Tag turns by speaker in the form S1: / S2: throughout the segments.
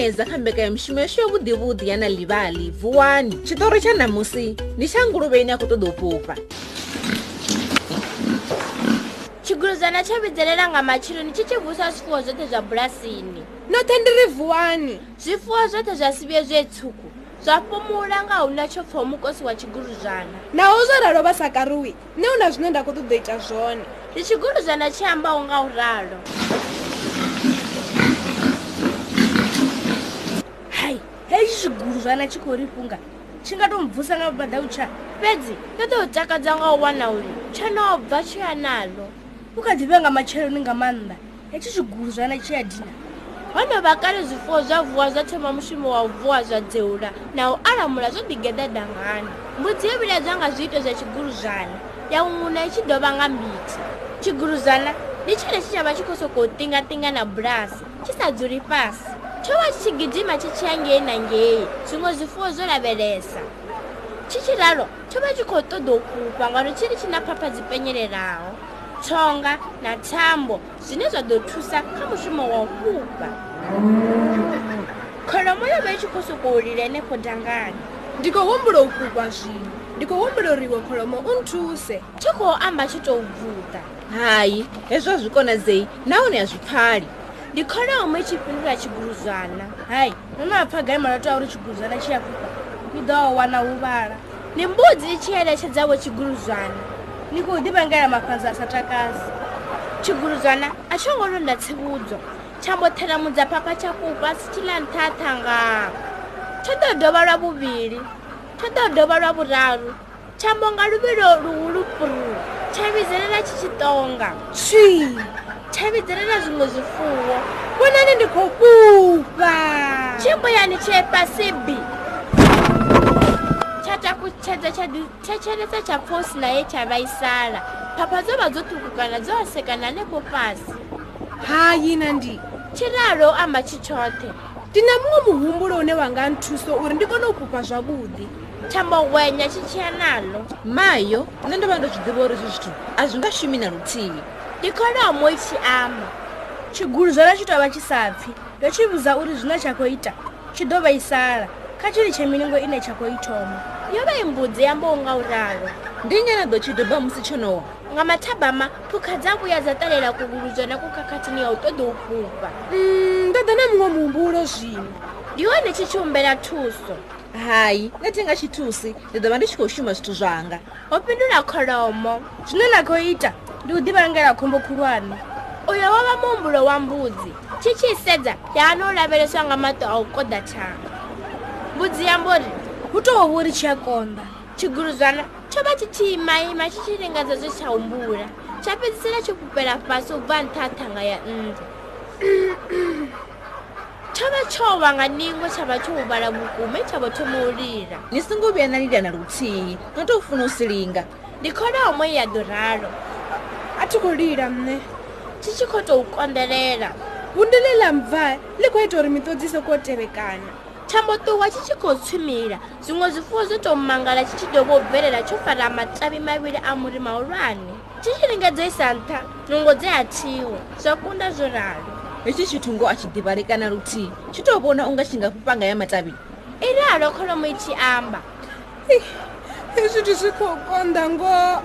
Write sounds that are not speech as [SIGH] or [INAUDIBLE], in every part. S1: fm shumeswiwe vhuḓivhuḓi ya na ḽivhali vuwani tshitori tsha ṋamusi ndi tsha nguluvhe ine a khou ṱoḓa u fhufha
S2: tshiguluzana tsho vhidzelela nga matsheloni tshi tshi vusa zwifuwo zwoṱhe zwa bulasini
S3: noṱhe ndi ri vuwani
S2: zwifuwo zwoṱhe zwa si vhuye zwetswuku zwa fhumula nga huna tsho pfha mukosi wa tshiguluzana
S3: naho zwo ralo vha sa karuwi nṋe hu na zwine nda khou ṱoḓa ita zwone
S2: ndi tshiguluzana tshi ambaho nga u ralo hai hezwi tshiguluzana tshi khou ri funga tshi nga tou bvusa nga vhubadautsha fhedzi ndo ḓo u takadza nga u wana uri tsho no bva tshi ya naḽo u kha ḓivhe nga matsheloni nga maanḓa hetsho tshiguluzana tshi ya dina hono vha kale zwifuwo zwa vuwa zwa thoma mushumo wa u vuwa zwa dzeula na u alamula zwo ḓigeḓa dangani mbudzi yo vhiledzwa nga zwiito zwa tshiguluzana ya unguna i tshi dovha nga mbiti tshiguluzana ndi tshone tshi tsha vha tshi khou sokou tingatinga na bulasi tshi sa dzuli fhasi tsho vha tshi tshi gidima tshi tshiya ngei na ngei zwiṅwe zwifuwo zwo lavhelesa tshi tshi ralo tsho vha tshi khou ṱoḓa u fhufha ngauri tshi ri tshi na phapha dzi penyelelaho thonga na thambo zwine zwa ḓo thusa kha mushumo wa u fhufha kholomo yo vha i tshi khou sokou lila henefho dangani
S3: ndi khou humbula u fhufha zwino ndi khou humbula uri iwe kholomo u nthuse
S2: tshi khou amba tshi tou vuḓa
S1: hayi hezwo a zwi konadzei nahone a zwi pfhali
S2: ndi kholomo i tshi fhindula tshiguluzwana hai nona a pfha gai malato a uri tshiguluzwana tshi a fhufha ni ḓo a wana huvhala ndi mbudzi i tshi eletshedzavho tshiguluzwana ni khou ḓivha ngaya mafhanza a sa takasi tshiguluzwana a tsho ngo londa tsivhudzo tsha mbo theramudza phapha tsha fhufha si tshi ḽa nṱha a thangaa tsho ḓo dovha lwa vhuvhili tsho ḓo dovha lwa vhuraru tsha mbo nga luvhilo luhulu puru tsha vhidzelela tshi tshi tonga
S3: tshii
S2: tsha vhidzelela zwiṅwe zwifuwo
S3: vhonani ndi khou fhufha
S2: tshimbuyani tshepasibi tsha takutshedza tsha ḓitshetshelesa tsha pfha u sina ye tsha vhaisala phapha dzo vha dzo ṱhukukana dzo hasekana hanefho fhasi
S3: hayi nandi
S2: tshiralo u amba tshi tshoṱhe
S3: ndi na muṅwe muhumbulo une wa nga nthusa uri ndi kone u fhufha zwavhuḓi
S2: thambohwenya tshi tshiya naḽo
S1: mayo nṋe ndo vha ndo zwi ḓivha uri hezwi zwithu a zwi nga shumi na luthihi
S2: ndi kholomo i tshi amba tshiguluzwana tshi tovha tshi sa pfhi ndo tshi vhudza uri zwine tsha khou ita tshi ḓo vhaisala kha tshili tsha milingo ine tsha khou i thoma yo vha imbudzi yamboho nga u ralo
S1: ndi nnyi na ḓo tshi doba musi tsho nowa
S2: nga mathabama phukha dza vhuya dza ṱalela kuguluzwana ku khakhathini ya u ṱoḓa u fhufha
S3: Mm, ndo ḓa na muṅwe muhumbulo zwino
S2: ndi hone tshi tshi humbela thuso
S1: hayi nṋe thi nga tshi thusi ndi ḓo vha ndi tshi khou shuma zwithu zwanga
S2: ho fhindula kholomo
S3: zwine na khou ita ndi u ḓivhangela khombo khulwane
S2: uyo wo vha muhumbulo wa mbudzi tshi tshi sedza yaano u lavheleswa nga maṱo a u koḓa thanga mbudzi yambori
S3: hu tou vha uri tshi a konḓa
S2: tshiguluzwana tsho vha tshi tshi imaima tshi tshi lingedza zwi tsha humbula tsha fhedzisela tshi fhufhela fhasi u bva nṱha ha thanga ya nnḓa [CLEARS THROAT] tsho vha tsho wa nga ningo tsha vha tsho huvhala vhukuma i tsha vho thoma u lila
S1: ni songo vhuya na lila na luthihi no tou funa u silinga
S2: ndi kholomo i ya ḓo ralo
S3: a thi khou lila nṋe
S2: tshi tshi khou tou konḓelela
S3: vundi ḽi ḽa mbva ḽi khou ita uri miṱodzi i sokou tevhekana
S2: thambo ṱuwa tshi tshi khou tswimila zwiṅwe zwifuwo zwo tou mangala tshi tshi dovha u bvelela tsho fara matavhi mavhili a muri mahulwane tshi tshi lingedza isa nṱha nungo dze ha thiwa zwa kunda zwo ralo
S1: hetshi tshithu ngo a tshi ḓivhali kana luthihi tshi tou vhona u nga tshi nga fhufha nga ya matavhi
S2: i ralo kholomo i tshi amba
S3: hezwithu zwi khou konḓa ngoho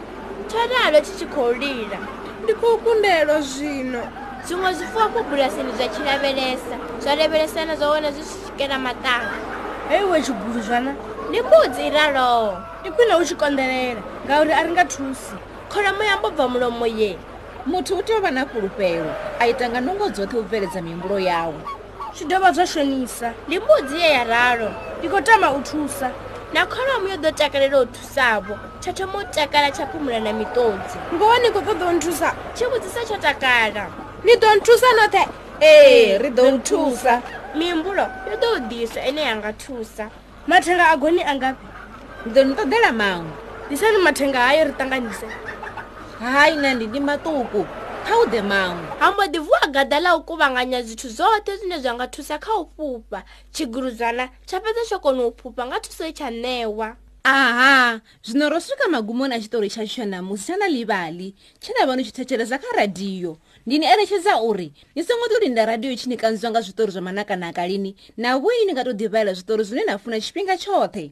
S2: tsho ralo tshi tshi khou lila
S3: ndi khou kundelwa zwino
S2: zwiṅwe zwifuwo afho bulasini zwa tshi lavhelesa zwa lavhelesana zwa wana zwi tshi swikela maṱanga
S3: heiwe tshigulu zwana
S2: ndi mbudzi i raloho
S3: ndi khwine u tshi konḓelela ngauri a ri nga thusi
S2: kholomo yambo bva mulomo ye
S1: muthu u tea u vha na fulufhelo a ita nga nungo dzoṱhe u bveledza mihumbulo yawe
S3: zwi dovha zwa shonisa
S2: ndi mbudzi ye ya ralo
S3: ndi khou tama u thusa
S2: na kholomo yo ḓo takalela u thusavho tsha thoma u takala tsha phumula na miṱodzi
S3: ngoho ni khou ṱoḓa u nthusa
S2: tshi vhudzisa tsho takala
S3: ni ḓo nthusa noṱhe
S1: ee ri ḓo nthusa
S2: mihumbulo yo ḓo u ḓiswa ine ya nga thusa
S3: mathenga a goni a ngafhi
S1: ndi ḓo ni ṱoḓela maṅwe
S3: ḓisani mathenga hayo ri ṱanganise
S1: hayi nandi ndi maṱuku kha u ḓe maṅwe
S2: ha mbo ḓi vuwa gaḓa ḽa u kuvhanganya zwithu zwoṱhe zwine zwa nga thusa kha u fhufha tshiguruzwana tsha fhedza tsho kona u fhufha nga thuso i tsha ṋewa
S1: aha zvino ro swika magumoni achitori chacho namusi chana livali china vano chithetsheresa kha radhiyo ndini eletshedza uri ni songo to linda radhiyo tshi ni kanziwa nga zwitori zwa manakanaka lini na vhoi ni nga to ḓivhalela zwitori zwine na funa tshifhinga tshoṱhe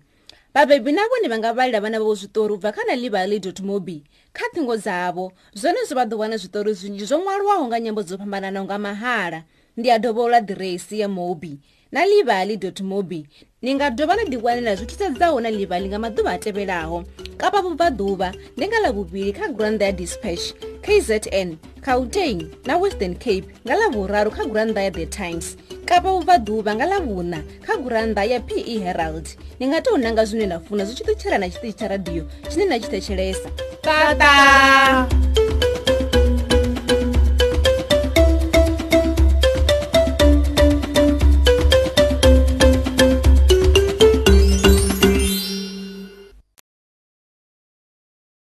S1: vhabebi na vhone vha nga vhalela vhana vhavho zwitori u bva kha na livali mobi kha ṱhingo dzavho zwone zwi vha ḓo wana zwitori zwinzhi zwo ṅwaliwaho nga nyambo dzo fhambananaho nga mahala ndi a dovholola ḓiresi ya mobi na livali mobi ni nga dovha na ḓiwanela zwi thusedzaho na livali nga maḓuvha a tevhelaho kapa vhubvaḓuvha ndi nga ḽavhuvhili kha gurannḓa ya dispatch kzn gauteng na western cape nga ḽavhuraru kha gurannḓa ya the times kapa vhubvaḓuvha nga ḽavhuṋa kha gurannḓa ya pe herald ni nga tou nanga zwine na funa zwi tshi ṱutshela na tshiṱitshi tsha radio tshine na tshi thetshelesa tata